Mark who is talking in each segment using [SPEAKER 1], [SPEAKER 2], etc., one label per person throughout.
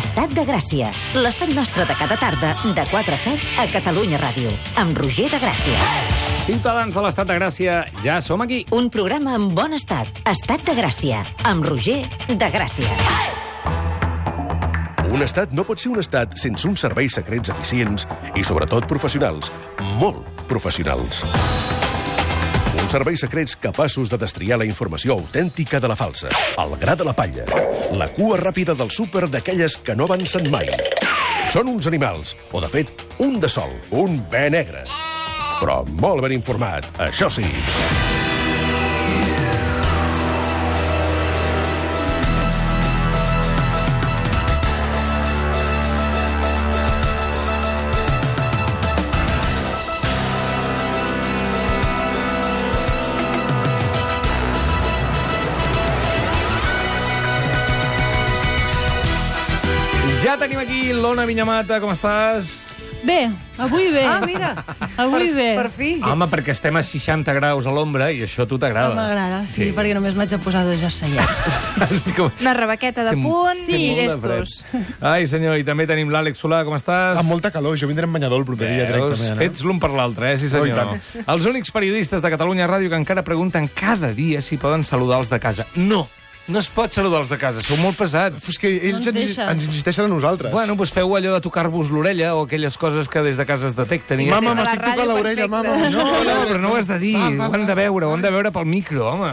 [SPEAKER 1] Ciutat de Gràcia. L'estat nostre de cada tarda, de 4 a 7, a Catalunya Ràdio, amb Roger de Gràcia.
[SPEAKER 2] Ciutadans de l'Estat de Gràcia, ja som aquí.
[SPEAKER 1] Un programa en bon estat. Estat de Gràcia, amb Roger de Gràcia.
[SPEAKER 3] Un estat no pot ser un estat sense uns serveis secrets eficients i, sobretot, professionals. Molt professionals. Uns serveis secrets capaços de destriar la informació autèntica de la falsa, el gra de la palla, la cua ràpida del súper d'aquelles que no avancen mai. Són uns animals, o de fet, un de sol, un bé negre. Però molt ben informat, això sí.
[SPEAKER 2] Ja tenim aquí l'Ona Vinyamata, com estàs?
[SPEAKER 4] Bé, avui bé.
[SPEAKER 5] Ah, mira.
[SPEAKER 4] Avui
[SPEAKER 5] per,
[SPEAKER 4] bé.
[SPEAKER 5] Per fi.
[SPEAKER 2] Home, perquè estem a 60 graus a l'ombra i això a tu t'agrada.
[SPEAKER 4] Ah, M'agrada, sí, sí, perquè només m'haig de posar dos josseiets.
[SPEAKER 2] Estic com...
[SPEAKER 6] Una rebequeta de
[SPEAKER 2] Té mo-
[SPEAKER 6] punt
[SPEAKER 2] té
[SPEAKER 6] i
[SPEAKER 2] molt de
[SPEAKER 6] llestos.
[SPEAKER 2] fred. Ai, senyor, i també tenim l'Àlex Solà, com estàs?
[SPEAKER 7] Amb molta calor, jo vindré en banyador el proper dia
[SPEAKER 2] Veus?
[SPEAKER 7] directament.
[SPEAKER 2] Fets l'un per l'altre, eh? Sí,
[SPEAKER 7] Oh, i
[SPEAKER 2] senyor. Els únics periodistes de Catalunya Ràdio que encara pregunten cada dia si poden saludar els de casa. No, no es pot saludar els de casa, sou molt
[SPEAKER 7] Eh?
[SPEAKER 2] pesats.
[SPEAKER 7] És que ells
[SPEAKER 4] ens
[SPEAKER 7] ens,
[SPEAKER 4] deixen.
[SPEAKER 7] ens insisteixen a nosaltres.
[SPEAKER 2] Bueno, doncs feu allò de tocar-vos l'orella o aquelles coses que des de casa es detecten. I ja
[SPEAKER 7] mama,
[SPEAKER 6] A la
[SPEAKER 7] m'estic
[SPEAKER 6] ràdio,
[SPEAKER 7] tocant l'orella,
[SPEAKER 6] perfecte.
[SPEAKER 7] mama.
[SPEAKER 2] No, no, però no ho has de dir.
[SPEAKER 7] Va, va,
[SPEAKER 2] ho han de
[SPEAKER 7] va.
[SPEAKER 2] veure, ho han de veure pel micro, home.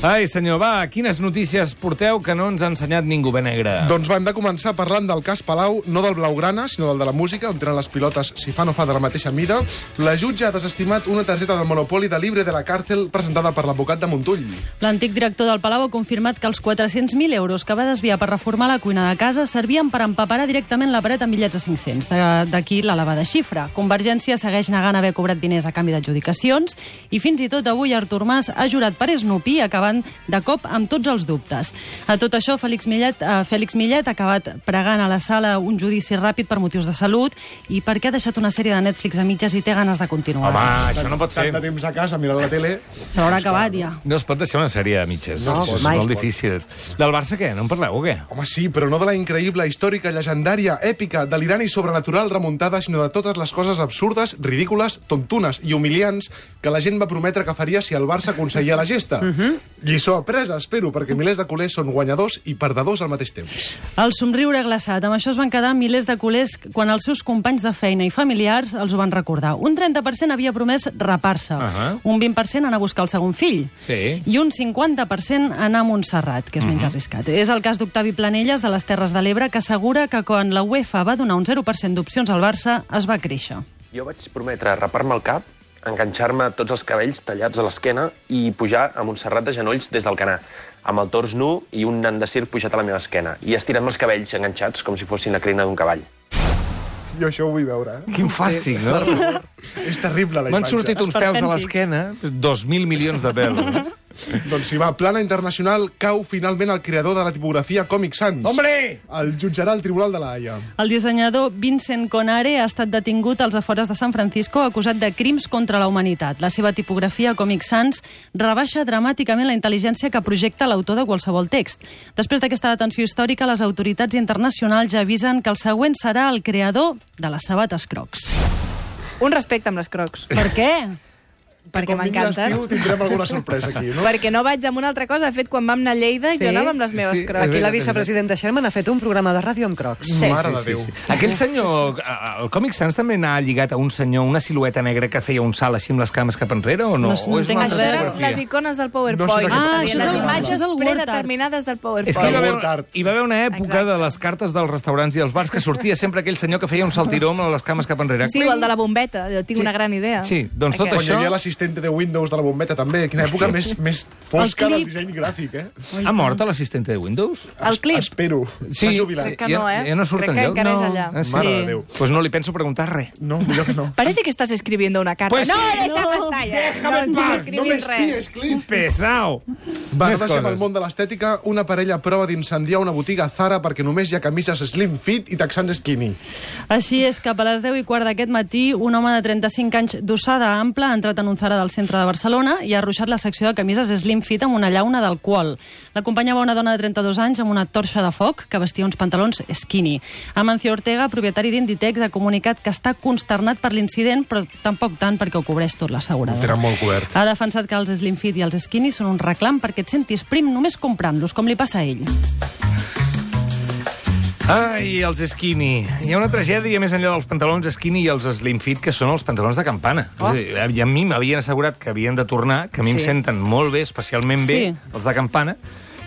[SPEAKER 2] Ai, senyor, va, quines notícies porteu que no ens ha ensenyat ningú ben negre?
[SPEAKER 7] Doncs van de començar parlant del cas Palau, no del Blaugrana, sinó del de la música, on tenen les pilotes si fa no fa de la mateixa mida. La jutge ha desestimat una targeta del monopoli de llibre de la càrcel presentada per l'advocat de Montull.
[SPEAKER 4] L'antic director del Palau ha confirmat que els 400.000 euros que va desviar per reformar la cuina de casa servien per empaparar directament la paret amb bitllets de 500. De- D'aquí l'elevada xifra. Convergència segueix negant haver cobrat diners a canvi d'adjudicacions i fins i tot avui Artur Mas ha jurat per Snoopy acabant de cop amb tots els dubtes. A tot això, Fèlix Millet, eh, Fèlix Millet ha acabat pregant a la sala un judici ràpid per motius de salut i perquè ha deixat una sèrie de Netflix a mitges i té ganes de continuar.
[SPEAKER 2] Home, això no pot ser.
[SPEAKER 7] Tant de temps a casa mirant la tele.
[SPEAKER 4] Se l'haurà acabat ja.
[SPEAKER 2] No es pot deixar una sèrie a mitges.
[SPEAKER 7] No,
[SPEAKER 2] és
[SPEAKER 7] mai.
[SPEAKER 2] molt difícil. Del Barça, què? No en parleu o què?
[SPEAKER 7] Home, sí, però no de la increïble, històrica, llegendària, èpica, delirant i sobrenatural remuntada, sinó de totes les coses absurdes, ridícules, tontunes i humiliants que la gent va prometre que faria si el Barça aconseguia la gesta. Lliçó apresa, espero, perquè milers de culers són guanyadors i perdedors al mateix temps.
[SPEAKER 4] El somriure glaçat. Amb això es van quedar milers de culers quan els seus companys de feina i familiars els ho van recordar. Un 30% havia promès rapar-se, uh
[SPEAKER 2] Ahà.
[SPEAKER 4] -huh. un 20% anar a buscar el segon fill
[SPEAKER 2] Sí. Mhm.
[SPEAKER 4] i un 50% anar a Montserrat, que és menys arriscat. És el cas d'Octavi Planelles de les Terres de l'Ebre que assegura que quan la UEFA va donar un 0% d'opcions al Barça es va créixer.
[SPEAKER 8] Jo vaig prometre rapar-me el cap, enganxar-me tots els cabells tallats a l'esquena i pujar a Montserrat de genolls des del canà, amb el tors nu i un nan de circ pujat a la meva esquena, i estirant-me els cabells enganxats com si fossin la crina d'un cavall.
[SPEAKER 7] Jo això ho vull veure, eh?
[SPEAKER 2] Quin fàstic, no?
[SPEAKER 7] És terrible, la
[SPEAKER 2] M'han
[SPEAKER 7] imatge.
[SPEAKER 2] sortit uns pèls a
[SPEAKER 4] Esperpèntic.
[SPEAKER 2] l'esquena, 2.000 milions de pèls.
[SPEAKER 7] Doncs si va, plana internacional, cau finalment el creador de la tipografia Comic Sans.
[SPEAKER 2] Hombre!
[SPEAKER 7] El jutjarà el Tribunal de la Haia.
[SPEAKER 4] El dissenyador Vincent Conare ha estat detingut als afores de San Francisco acusat de crims contra la humanitat. La seva tipografia Comic Sans rebaixa dramàticament la intel·ligència que projecta l'autor de qualsevol text. Després d'aquesta detenció històrica, les autoritats internacionals ja avisen que el següent serà el creador de les sabates crocs.
[SPEAKER 6] Un respecte amb les crocs,
[SPEAKER 4] Per què?
[SPEAKER 6] perquè
[SPEAKER 7] Quan vingui
[SPEAKER 6] m'encanten.
[SPEAKER 7] l'estiu tindrem alguna sorpresa aquí, no?
[SPEAKER 6] Perquè no vaig amb una altra cosa. De fet, quan vam anar a Lleida,
[SPEAKER 5] Sí?
[SPEAKER 6] jo anava amb les meves
[SPEAKER 2] Sí, és
[SPEAKER 6] crocs.
[SPEAKER 5] Aquí la
[SPEAKER 2] veritat, és
[SPEAKER 5] vicepresidenta Sherman ha fet un programa de ràdio amb crocs.
[SPEAKER 6] Sí.
[SPEAKER 7] Mare de Déu.
[SPEAKER 2] Aquell senyor, eh, el Comic Sans també n'ha lligat a un senyor, una silueta negra que feia un salt així amb les cames cap enrere o no?
[SPEAKER 4] No sé, no
[SPEAKER 2] o és
[SPEAKER 4] entenc
[SPEAKER 2] una
[SPEAKER 4] res.
[SPEAKER 6] Això
[SPEAKER 2] altra
[SPEAKER 6] eren
[SPEAKER 2] fotografia?
[SPEAKER 6] les icones del
[SPEAKER 7] No
[SPEAKER 6] PowerPoint.
[SPEAKER 7] són aquestes.
[SPEAKER 4] Ah, això és
[SPEAKER 6] les
[SPEAKER 4] el-
[SPEAKER 6] imatges
[SPEAKER 4] això és el Word Art.
[SPEAKER 6] predeterminades del
[SPEAKER 2] És que hi va,
[SPEAKER 6] PowerPoint.
[SPEAKER 7] Word
[SPEAKER 2] haver,
[SPEAKER 7] Art.
[SPEAKER 2] hi va haver una època
[SPEAKER 6] Exacte.
[SPEAKER 2] de les cartes dels restaurants i els bars que sortia sempre aquell senyor que feia un saltiró amb les cames cap enrere.
[SPEAKER 6] Sí, o el de la bombeta. Jo tinc una gran idea.
[SPEAKER 2] Sí, doncs tot
[SPEAKER 7] Quan
[SPEAKER 2] això...
[SPEAKER 7] hi havia l'assistent de Windows de la bombeta, també. Quina època més, més fosca
[SPEAKER 4] El
[SPEAKER 7] del
[SPEAKER 4] clip.
[SPEAKER 7] disseny gràfic, eh?
[SPEAKER 2] Ha mort l'assistente de Windows?
[SPEAKER 6] El
[SPEAKER 7] Es-
[SPEAKER 6] clip.
[SPEAKER 7] Espero. S'ha jubilat.
[SPEAKER 6] crec que no, eh?
[SPEAKER 2] Ja, ja no surt
[SPEAKER 6] Crec que
[SPEAKER 2] enlloc.
[SPEAKER 6] encara és
[SPEAKER 2] no.
[SPEAKER 6] allà.
[SPEAKER 2] Ah, sí.
[SPEAKER 7] Mare de Déu.
[SPEAKER 2] Pues no li penso preguntar res.
[SPEAKER 7] No, millor que no.
[SPEAKER 6] Parece que estás escribiendo una carta.
[SPEAKER 2] Pues
[SPEAKER 6] no,
[SPEAKER 2] sí.
[SPEAKER 6] deixa no, pastalla.
[SPEAKER 2] déjame
[SPEAKER 6] no
[SPEAKER 2] en
[SPEAKER 6] estic
[SPEAKER 2] paz.
[SPEAKER 7] No
[SPEAKER 6] escrivint res.
[SPEAKER 7] m'espies, Cliff!
[SPEAKER 2] Pesau!
[SPEAKER 7] Va,
[SPEAKER 2] Més
[SPEAKER 7] no deixem
[SPEAKER 2] coses.
[SPEAKER 7] el món de l'estètica. Una parella prova d'incendiar una botiga Zara perquè només hi ha camises slim fit i texans skinny.
[SPEAKER 4] Així és, cap a les 10 i quart d'aquest matí, un home de 35 anys d'ossada ampla ha entrat en un Zara Alfara del centre de Barcelona i ha arruixat la secció de camises Slim Fit amb una llauna d'alcohol. L'acompanyava una dona de 32 anys amb una torxa de foc que vestia uns pantalons skinny. Amancio Ortega, propietari d'Inditex, ha comunicat que està consternat per l'incident, però tampoc tant perquè ho cobreix tot
[SPEAKER 7] Ho
[SPEAKER 4] l'assegurador.
[SPEAKER 7] tenen molt cobert.
[SPEAKER 4] Ha defensat que els Slim Fit i els Skinny són un reclam perquè et sentis prim només comprant-los, com li passa a ell.
[SPEAKER 2] Ai, els skinny. Hi ha una tragèdia més enllà dels pantalons skinny i els slim fit, que són els pantalons de campana. Oh. És a, dir, a mi m'havien assegurat que havien de tornar, que a mi sí. em
[SPEAKER 5] Sí.
[SPEAKER 2] senten molt bé, especialment bé,
[SPEAKER 4] Sí.
[SPEAKER 2] els de campana.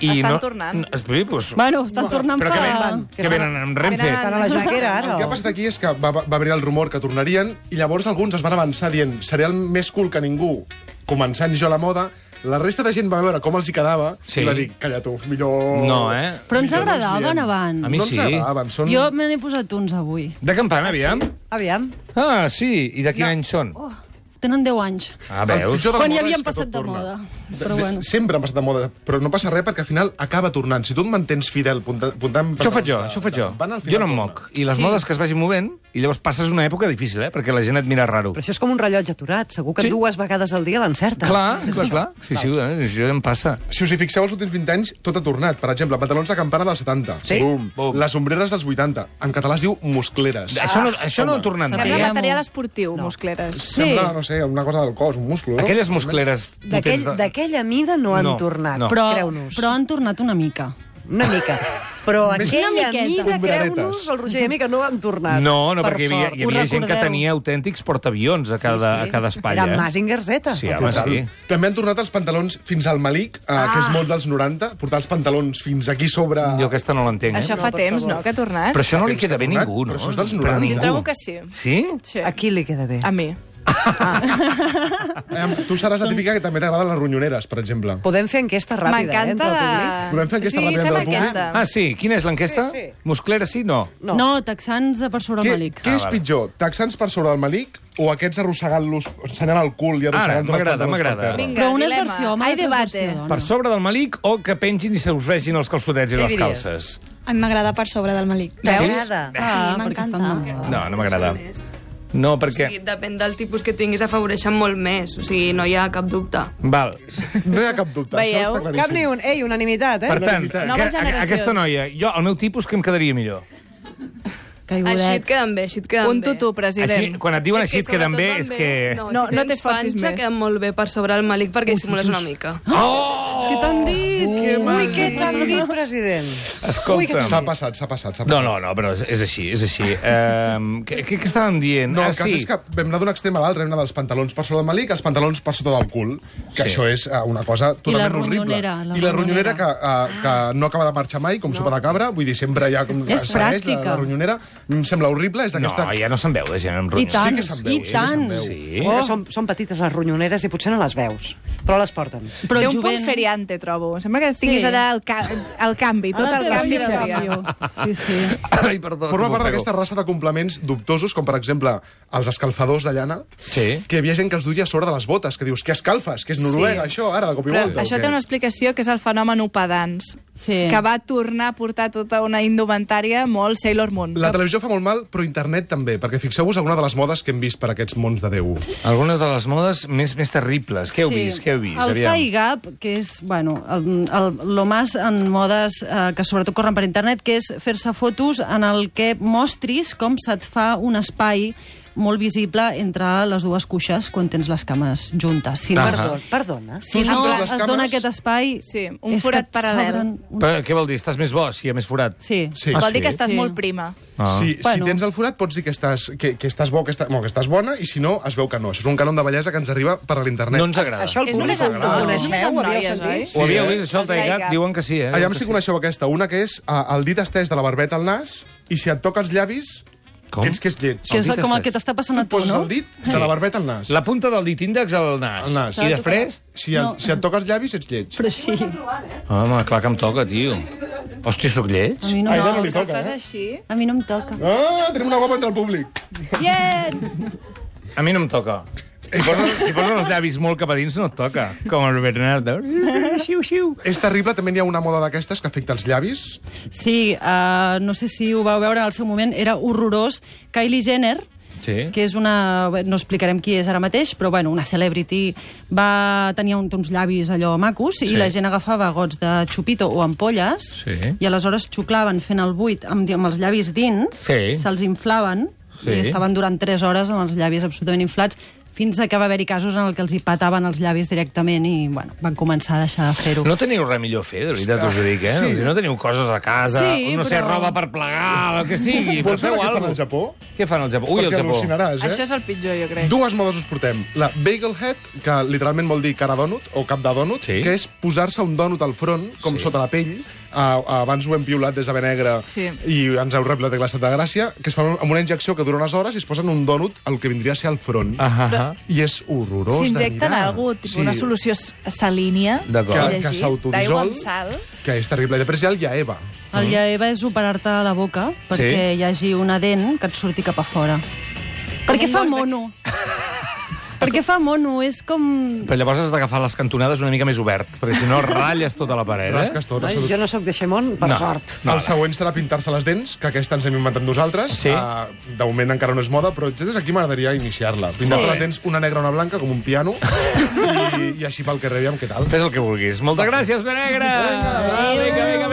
[SPEAKER 2] I
[SPEAKER 6] Estan
[SPEAKER 2] no,
[SPEAKER 6] tornant.
[SPEAKER 2] No, sí, doncs,
[SPEAKER 4] Bueno, estan tornant
[SPEAKER 2] però que
[SPEAKER 4] fa-
[SPEAKER 2] venen, que venen amb Renfe.
[SPEAKER 6] Venen
[SPEAKER 5] Estan a la jaquera,
[SPEAKER 6] Oh.
[SPEAKER 7] El que ha
[SPEAKER 5] ara.
[SPEAKER 7] passat aquí és que va, va va venir el rumor que tornarien i llavors alguns es van avançar dient seré el més cool que ningú, començant jo la moda. La resta de gent va veure com els hi quedava
[SPEAKER 2] Sí.
[SPEAKER 7] i va dir, calla tu, millor...
[SPEAKER 2] No, eh?
[SPEAKER 4] Però ens
[SPEAKER 7] millor no
[SPEAKER 4] agradaven
[SPEAKER 7] diem."
[SPEAKER 4] abans.
[SPEAKER 2] A mi
[SPEAKER 7] no
[SPEAKER 2] sí.
[SPEAKER 7] ens agradaven, són...
[SPEAKER 4] Jo me n'he posat uns avui.
[SPEAKER 2] De campana, aviam.
[SPEAKER 5] Aviam.
[SPEAKER 2] Ah, sí. I de quin no. any són?
[SPEAKER 4] Oh, tenen 10 anys.
[SPEAKER 2] Ah,
[SPEAKER 7] El
[SPEAKER 2] veus?
[SPEAKER 7] pitjor de la
[SPEAKER 4] Quan ja
[SPEAKER 7] moda és
[SPEAKER 4] havien
[SPEAKER 7] que tot
[SPEAKER 4] passat de
[SPEAKER 7] torna.
[SPEAKER 4] moda.
[SPEAKER 7] De-
[SPEAKER 4] Però
[SPEAKER 7] de-
[SPEAKER 4] bueno.
[SPEAKER 7] Sempre han passat de moda, però no passa res perquè al final acaba tornant. Si tu et mantens fidel punta- puntant...
[SPEAKER 2] Això ho faig jo, això ho faig jo. Jo no em moc. I les sí. modes que es vagin movent, i llavors passes una època difícil, eh? Perquè la gent et mira raro.
[SPEAKER 5] Però això és com un rellotge aturat. Segur que
[SPEAKER 2] Sí.
[SPEAKER 5] sí. dues vegades al dia l'encerta.
[SPEAKER 2] Clar, clar, clar. Sí, sí, eh? això em passa.
[SPEAKER 7] Si us hi fixeu, els últims 20 anys tot ha tornat. Per exemple, pantalons de campana dels 70.
[SPEAKER 5] Sí.
[SPEAKER 7] Bum.
[SPEAKER 2] Bum.
[SPEAKER 7] Les ombreres dels 80. En català es diu muscleres.
[SPEAKER 2] Això
[SPEAKER 5] Ah,
[SPEAKER 2] no, això no ho tornen a eh?
[SPEAKER 6] Sembla
[SPEAKER 2] fer.
[SPEAKER 4] Diguem-ho.
[SPEAKER 6] material esportiu, muscleres.
[SPEAKER 7] Sembla, no sé, una cosa del cos, un múscul, no?
[SPEAKER 2] Aquelles muscleres...
[SPEAKER 5] D'aquell-
[SPEAKER 2] potents de-
[SPEAKER 5] D'aquella mida no han
[SPEAKER 2] No,
[SPEAKER 5] tornat,
[SPEAKER 2] no.
[SPEAKER 4] Però,
[SPEAKER 5] creu-nos.
[SPEAKER 4] però han tornat una mica.
[SPEAKER 5] Una mica. Però
[SPEAKER 7] Més-
[SPEAKER 5] aquella
[SPEAKER 4] Una miqueta.
[SPEAKER 5] mida, creu-nos,
[SPEAKER 7] Ombreretes.
[SPEAKER 5] el Roger i a mi, que no han tornat.
[SPEAKER 2] No, no,
[SPEAKER 5] per
[SPEAKER 2] perquè hi havia,
[SPEAKER 5] sort.
[SPEAKER 2] hi havia
[SPEAKER 4] Ho
[SPEAKER 2] gent que
[SPEAKER 4] recordeu.
[SPEAKER 2] tenia autèntics portaavions a cada,
[SPEAKER 5] Sí, sí.
[SPEAKER 2] a cada espai.
[SPEAKER 5] Era
[SPEAKER 2] eh?
[SPEAKER 5] Mazinger Z.
[SPEAKER 2] Sí, home,
[SPEAKER 7] Total.
[SPEAKER 2] sí.
[SPEAKER 7] També han tornat els pantalons fins al malic, eh, que
[SPEAKER 4] Ah.
[SPEAKER 7] és molt dels 90, portar els pantalons fins aquí sobre...
[SPEAKER 2] Jo aquesta no l'entenc.
[SPEAKER 6] Això
[SPEAKER 2] Eh?
[SPEAKER 6] fa temps, no?, que ha tornat.
[SPEAKER 2] Però això no li
[SPEAKER 7] Aquest
[SPEAKER 2] queda bé a
[SPEAKER 7] tornat,
[SPEAKER 2] ningú, no?
[SPEAKER 7] però això és dels
[SPEAKER 2] Però a
[SPEAKER 7] 90. Jo
[SPEAKER 2] ningú.
[SPEAKER 6] trobo que sí.
[SPEAKER 2] Sí?
[SPEAKER 6] Sí.
[SPEAKER 5] A qui li queda bé?
[SPEAKER 6] A mi.
[SPEAKER 7] Eh, tu seràs la típica que també t'agraden les ronyoneres, per exemple.
[SPEAKER 5] Podem fer enquesta ràpida, eh,
[SPEAKER 6] M'encanta
[SPEAKER 5] entre el
[SPEAKER 6] la...
[SPEAKER 5] públic.
[SPEAKER 7] Podem fer aquesta
[SPEAKER 6] sí,
[SPEAKER 7] ràpida
[SPEAKER 6] fem
[SPEAKER 7] entre el públic?
[SPEAKER 6] aquesta.
[SPEAKER 2] Ah, sí? Quina és l'enquesta?
[SPEAKER 5] Sí, sí.
[SPEAKER 2] Musclera sí? No.
[SPEAKER 5] No.
[SPEAKER 4] No, texans a per sobre el
[SPEAKER 7] Què,
[SPEAKER 4] malic.
[SPEAKER 7] què
[SPEAKER 2] Ah,
[SPEAKER 7] és
[SPEAKER 2] vale.
[SPEAKER 7] pitjor, texans per sobre del malic o aquests arrossegant-los, ensenyant el cul i arrossegant-los
[SPEAKER 2] m'agrada,
[SPEAKER 7] els pantalons
[SPEAKER 2] m'agrada.
[SPEAKER 7] per terra?
[SPEAKER 6] Vinga,
[SPEAKER 4] Però una és
[SPEAKER 6] dilema.
[SPEAKER 4] versió home,
[SPEAKER 6] Ai,
[SPEAKER 4] l'altra és
[SPEAKER 6] debate.
[SPEAKER 4] versió dona.
[SPEAKER 2] Per sobre del malic o que pengin i se us vegin els calçotets i
[SPEAKER 5] Què
[SPEAKER 2] les
[SPEAKER 5] diries?
[SPEAKER 2] calces? Eh,
[SPEAKER 9] A mi m'agrada per sobre del malic.
[SPEAKER 5] T'agrada?
[SPEAKER 4] Ah,
[SPEAKER 9] Sí,
[SPEAKER 4] perquè estan
[SPEAKER 9] m'encanta.
[SPEAKER 4] de moda.
[SPEAKER 2] No, no m'agrada. No, perquè...
[SPEAKER 10] Sí, depèn del tipus que tinguis, afavoreixen molt més. O sigui, no hi ha cap dubte.
[SPEAKER 2] Val.
[SPEAKER 5] Eh?
[SPEAKER 7] No hi ha cap dubte,
[SPEAKER 6] Veieu?
[SPEAKER 7] això està
[SPEAKER 5] Cap
[SPEAKER 7] claríssim.
[SPEAKER 5] ni un. Ei, unanimitat, eh?
[SPEAKER 2] Per tant,
[SPEAKER 7] veritat.
[SPEAKER 6] Noves
[SPEAKER 2] aqu-
[SPEAKER 6] generacions.
[SPEAKER 2] aquesta noia, jo, el meu tipus, que em quedaria millor?
[SPEAKER 10] Així
[SPEAKER 4] Caigudet.
[SPEAKER 10] et queden bé, així et queden
[SPEAKER 6] Un
[SPEAKER 10] bé.
[SPEAKER 6] tutú, president.
[SPEAKER 2] Així, quan et diuen
[SPEAKER 10] És
[SPEAKER 2] així et queden
[SPEAKER 10] sobretot també-
[SPEAKER 2] bé, és que...
[SPEAKER 10] No,
[SPEAKER 6] No,
[SPEAKER 10] no, si
[SPEAKER 6] no
[SPEAKER 10] no tens
[SPEAKER 6] t'esforcis
[SPEAKER 10] panxa,
[SPEAKER 6] més.
[SPEAKER 10] queden molt bé per sobre el malic perquè simules una mica.
[SPEAKER 2] Oh!
[SPEAKER 4] Què t'han dit?
[SPEAKER 5] Ui, què t'han dit, president? Ui, que
[SPEAKER 2] Escolta'm.
[SPEAKER 7] S'ha passat, s'ha passat, s'ha passat.
[SPEAKER 2] No, no, no, però és- és així, és així. Um, què, què què estàvem dient?
[SPEAKER 7] No,
[SPEAKER 2] Ah,
[SPEAKER 7] el cas
[SPEAKER 2] sí.
[SPEAKER 7] és que vam anar d'un extrem a l'altre, vam anar dels pantalons per sobre del malic als pantalons per sota del cul, que
[SPEAKER 2] Sí.
[SPEAKER 7] això és eh, una cosa totalment horrible.
[SPEAKER 4] ronyonera, la
[SPEAKER 7] I la ronyonera
[SPEAKER 4] ronyonera.
[SPEAKER 7] que, eh, que no acaba de marxar mai, com no. sopa de cabra, vull dir, sempre hi ha com
[SPEAKER 4] És
[SPEAKER 7] segueix la,
[SPEAKER 4] pràctica.
[SPEAKER 7] la ronyonera. A mi Em sembla horrible, és
[SPEAKER 2] No,
[SPEAKER 7] d'aquesta...
[SPEAKER 2] ja no se'n veu de gent amb
[SPEAKER 4] I
[SPEAKER 2] ronyons.
[SPEAKER 4] tant,
[SPEAKER 7] que se'n veu,
[SPEAKER 4] i
[SPEAKER 7] sí que se'n
[SPEAKER 4] tant.
[SPEAKER 7] veu.
[SPEAKER 2] Sí.
[SPEAKER 5] Oh. Són, són petites les ronyoneres i potser no les veus, però les porten.
[SPEAKER 4] Però
[SPEAKER 6] Té un
[SPEAKER 4] jovent.
[SPEAKER 6] punt feriante, trobo. Sembla que tinguis
[SPEAKER 4] Sí.
[SPEAKER 6] allà el, ca el canvi, tot
[SPEAKER 4] Ara
[SPEAKER 6] el
[SPEAKER 4] té la
[SPEAKER 6] canvi.
[SPEAKER 4] millor
[SPEAKER 6] seria.
[SPEAKER 4] versió. Sí, sí.
[SPEAKER 2] Ai, perdó.
[SPEAKER 7] Forma
[SPEAKER 2] com ofego.
[SPEAKER 7] part d'aquesta raça de complements dubtosos, com per exemple els escalfadors de llana,
[SPEAKER 2] Sí.
[SPEAKER 7] que hi havia gent que els duia a sobre de les botes, que dius, què escalfes? Que és Noruega,
[SPEAKER 2] Sí.
[SPEAKER 7] això, ara, de cop i
[SPEAKER 6] Però
[SPEAKER 7] volta. o
[SPEAKER 6] això
[SPEAKER 7] què?
[SPEAKER 6] té una explicació que és el fenomen Upadans,
[SPEAKER 4] Sí.
[SPEAKER 6] que va tornar a portar tota una indumentària molt Sailor Moon.
[SPEAKER 7] La televisió fa molt mal, però internet també, perquè fixeu-vos alguna de les modes que hem vist per aquests mons de Déu.
[SPEAKER 2] Algunes de les modes més, més terribles. Què heu
[SPEAKER 4] Sí.
[SPEAKER 2] vist? Què heu vist?
[SPEAKER 4] El
[SPEAKER 2] Aviam.
[SPEAKER 4] thigh gap, que és, bueno, el, el, lo más en modes eh, que sobretot corren per internet, que és fer-se fotos en el que mostris com se't fa un espai molt visible entre les dues cuixes quan tens les cames juntes. Si
[SPEAKER 2] Ah.
[SPEAKER 4] no,
[SPEAKER 5] Perdó, perdona.
[SPEAKER 4] si
[SPEAKER 7] Tu
[SPEAKER 4] no
[SPEAKER 7] sentes les
[SPEAKER 4] es dona
[SPEAKER 7] cames?
[SPEAKER 4] aquest espai...
[SPEAKER 6] Sí, un
[SPEAKER 4] és que
[SPEAKER 6] forat
[SPEAKER 4] et
[SPEAKER 6] paral·lel.
[SPEAKER 4] s'obren un-
[SPEAKER 2] Però, què vol dir? Estàs més bo si hi ha més forat?
[SPEAKER 4] Sí.
[SPEAKER 7] Sí.
[SPEAKER 2] Ah,
[SPEAKER 6] Vol
[SPEAKER 2] sí?
[SPEAKER 6] dir que estàs
[SPEAKER 4] Sí.
[SPEAKER 6] molt prima.
[SPEAKER 2] Ah.
[SPEAKER 7] Si,
[SPEAKER 4] Bueno.
[SPEAKER 7] si tens el forat pots dir que estàs, que, que estàs bo, que estàs, bueno, que estàs bona, i si no, es veu que no. Això és un cànon de bellesa que ens arriba per a l'internet.
[SPEAKER 2] No ens agrada.
[SPEAKER 5] Això el
[SPEAKER 6] És només
[SPEAKER 5] públic
[SPEAKER 6] amb
[SPEAKER 5] ho
[SPEAKER 6] noies,
[SPEAKER 5] coneixeu,
[SPEAKER 6] només amb
[SPEAKER 5] ho havíeu
[SPEAKER 6] noies,
[SPEAKER 5] sentit?
[SPEAKER 2] Ho havíeu
[SPEAKER 7] eh?
[SPEAKER 2] vist, això, el
[SPEAKER 6] El thigh
[SPEAKER 2] taigat?
[SPEAKER 6] gap.
[SPEAKER 2] Diuen que sí, eh?
[SPEAKER 7] Allà
[SPEAKER 2] Diuen
[SPEAKER 7] si
[SPEAKER 2] que
[SPEAKER 7] coneixeu aquesta. Una que és ah, el dit estès de la barbeta al nas, i si et toca els llavis,
[SPEAKER 2] Com?
[SPEAKER 7] tens que és lleig.
[SPEAKER 4] Que és
[SPEAKER 2] El dit
[SPEAKER 4] com el
[SPEAKER 2] estàs-
[SPEAKER 4] que t'està
[SPEAKER 7] Tu
[SPEAKER 4] passant a
[SPEAKER 7] et
[SPEAKER 4] tu,
[SPEAKER 7] poses
[SPEAKER 4] no?
[SPEAKER 7] el dit de la barbeta al nas.
[SPEAKER 2] La punta del dit índex al nas.
[SPEAKER 7] Al nas.
[SPEAKER 2] I després?
[SPEAKER 7] Si, et,
[SPEAKER 4] No.
[SPEAKER 7] si et toca els llavis, ets lleig.
[SPEAKER 4] Però sí.
[SPEAKER 2] Home, clar que em toca, tio. Hòstia, sóc lleig?
[SPEAKER 4] A mi no,
[SPEAKER 7] A ella no li
[SPEAKER 6] si el
[SPEAKER 7] toca,
[SPEAKER 6] fas
[SPEAKER 7] eh?
[SPEAKER 6] així...
[SPEAKER 4] a mi no em toca.
[SPEAKER 7] Ah, tenim una guapa entre el públic.
[SPEAKER 4] Yeah!
[SPEAKER 2] A mi no em toca. Si poses, si poses els llavis molt cap a dins, no et toca. Com el Bernardo. Xiu, xiu.
[SPEAKER 7] És terrible, també n'hi ha una moda d'aquestes que afecta els llavis.
[SPEAKER 4] eh, Sí, uh, no sé si ho vau veure en el seu moment, era horrorós. Kylie Jenner
[SPEAKER 11] Sí.
[SPEAKER 4] que és una... bé, no explicarem qui és ara mateix, però bueno, una celebrity va tenir un, uns llavis allò macos sí.
[SPEAKER 11] Sí.
[SPEAKER 4] i la gent agafava gots de xupito o ampolles
[SPEAKER 11] Sí.
[SPEAKER 4] i aleshores xuclaven fent el buit amb, amb els llavis dins,
[SPEAKER 11] Sí.
[SPEAKER 4] se'ls inflaven
[SPEAKER 11] Sí.
[SPEAKER 4] i estaven durant 3 hores amb els llavis absolutament inflats fins a que va haver-hi casos en el que els hi pataven els llavis directament i bueno, van començar a deixar de fer-ho.
[SPEAKER 2] No teniu res millor a fer, de veritat, us ho dic, eh?
[SPEAKER 7] Sí.
[SPEAKER 2] Sí. No teniu coses a casa,
[SPEAKER 4] Sí,
[SPEAKER 2] no sé,
[SPEAKER 4] però-
[SPEAKER 2] roba per plegar, el que sigui.
[SPEAKER 7] Vols
[SPEAKER 2] però feu
[SPEAKER 7] veure què fan al
[SPEAKER 2] alguna cosa.
[SPEAKER 7] Japó?
[SPEAKER 2] Què fan al Japó? Ui, al
[SPEAKER 7] Perquè
[SPEAKER 2] Japó.
[SPEAKER 7] al·lucinaràs, eh?
[SPEAKER 6] Això és el pitjor, jo crec.
[SPEAKER 7] Dues modes us portem. La bagel head, que literalment vol dir cara donut o cap de donut,
[SPEAKER 11] Sí.
[SPEAKER 7] que és posar-se un donut al front, com sí. sota la pell. Uh, abans ho hem piulat des de Benegra
[SPEAKER 6] Sí.
[SPEAKER 7] i ens heu reblat de l'estat de gràcia, que es fan amb una injecció que dura unes hores i es posen un donut al que vindria a ser al front.
[SPEAKER 2] Ah, ah, ah.
[SPEAKER 7] I és horrorós de
[SPEAKER 6] S'injecten
[SPEAKER 7] mirar.
[SPEAKER 6] algú, tipus sí. una solució s- salínia,
[SPEAKER 2] D'acord.
[SPEAKER 6] he
[SPEAKER 7] Que- que
[SPEAKER 6] llegit,
[SPEAKER 7] s'autodissol.
[SPEAKER 6] d'aigua amb sal.
[SPEAKER 7] Que és terrible. I després hi ha el Yaeva.
[SPEAKER 4] El Yaeva és operar-te a la boca perquè
[SPEAKER 2] Sí.
[SPEAKER 4] hi hagi una dent que et surti cap a fora. Perquè
[SPEAKER 6] un
[SPEAKER 4] fa
[SPEAKER 6] gos de-
[SPEAKER 4] mono. perquè fa mono, és com...
[SPEAKER 2] Però llavors has d'agafar les cantonades una mica més obert, perquè si no ratlles tota la paret, eh?
[SPEAKER 7] Rasques tot.
[SPEAKER 5] Ai,
[SPEAKER 7] absolut-
[SPEAKER 5] jo no sóc de Xemón, per
[SPEAKER 2] No.
[SPEAKER 5] no. sort.
[SPEAKER 2] No,
[SPEAKER 7] No,
[SPEAKER 2] no.
[SPEAKER 7] el següent serà pintar-se les dents, que aquesta ens hem inventat nosaltres.
[SPEAKER 2] Sí.
[SPEAKER 7] Uh, de moment encara no és moda, però des d'aquí m'agradaria iniciar-la. Pintar-te
[SPEAKER 2] Sí.
[SPEAKER 7] les dents una negra, una blanca, com un piano, i, i així pel carrer, aviam què tal.
[SPEAKER 2] Fes el que vulguis. Moltes gràcies, Benegra! Vinga, vinga, vinga.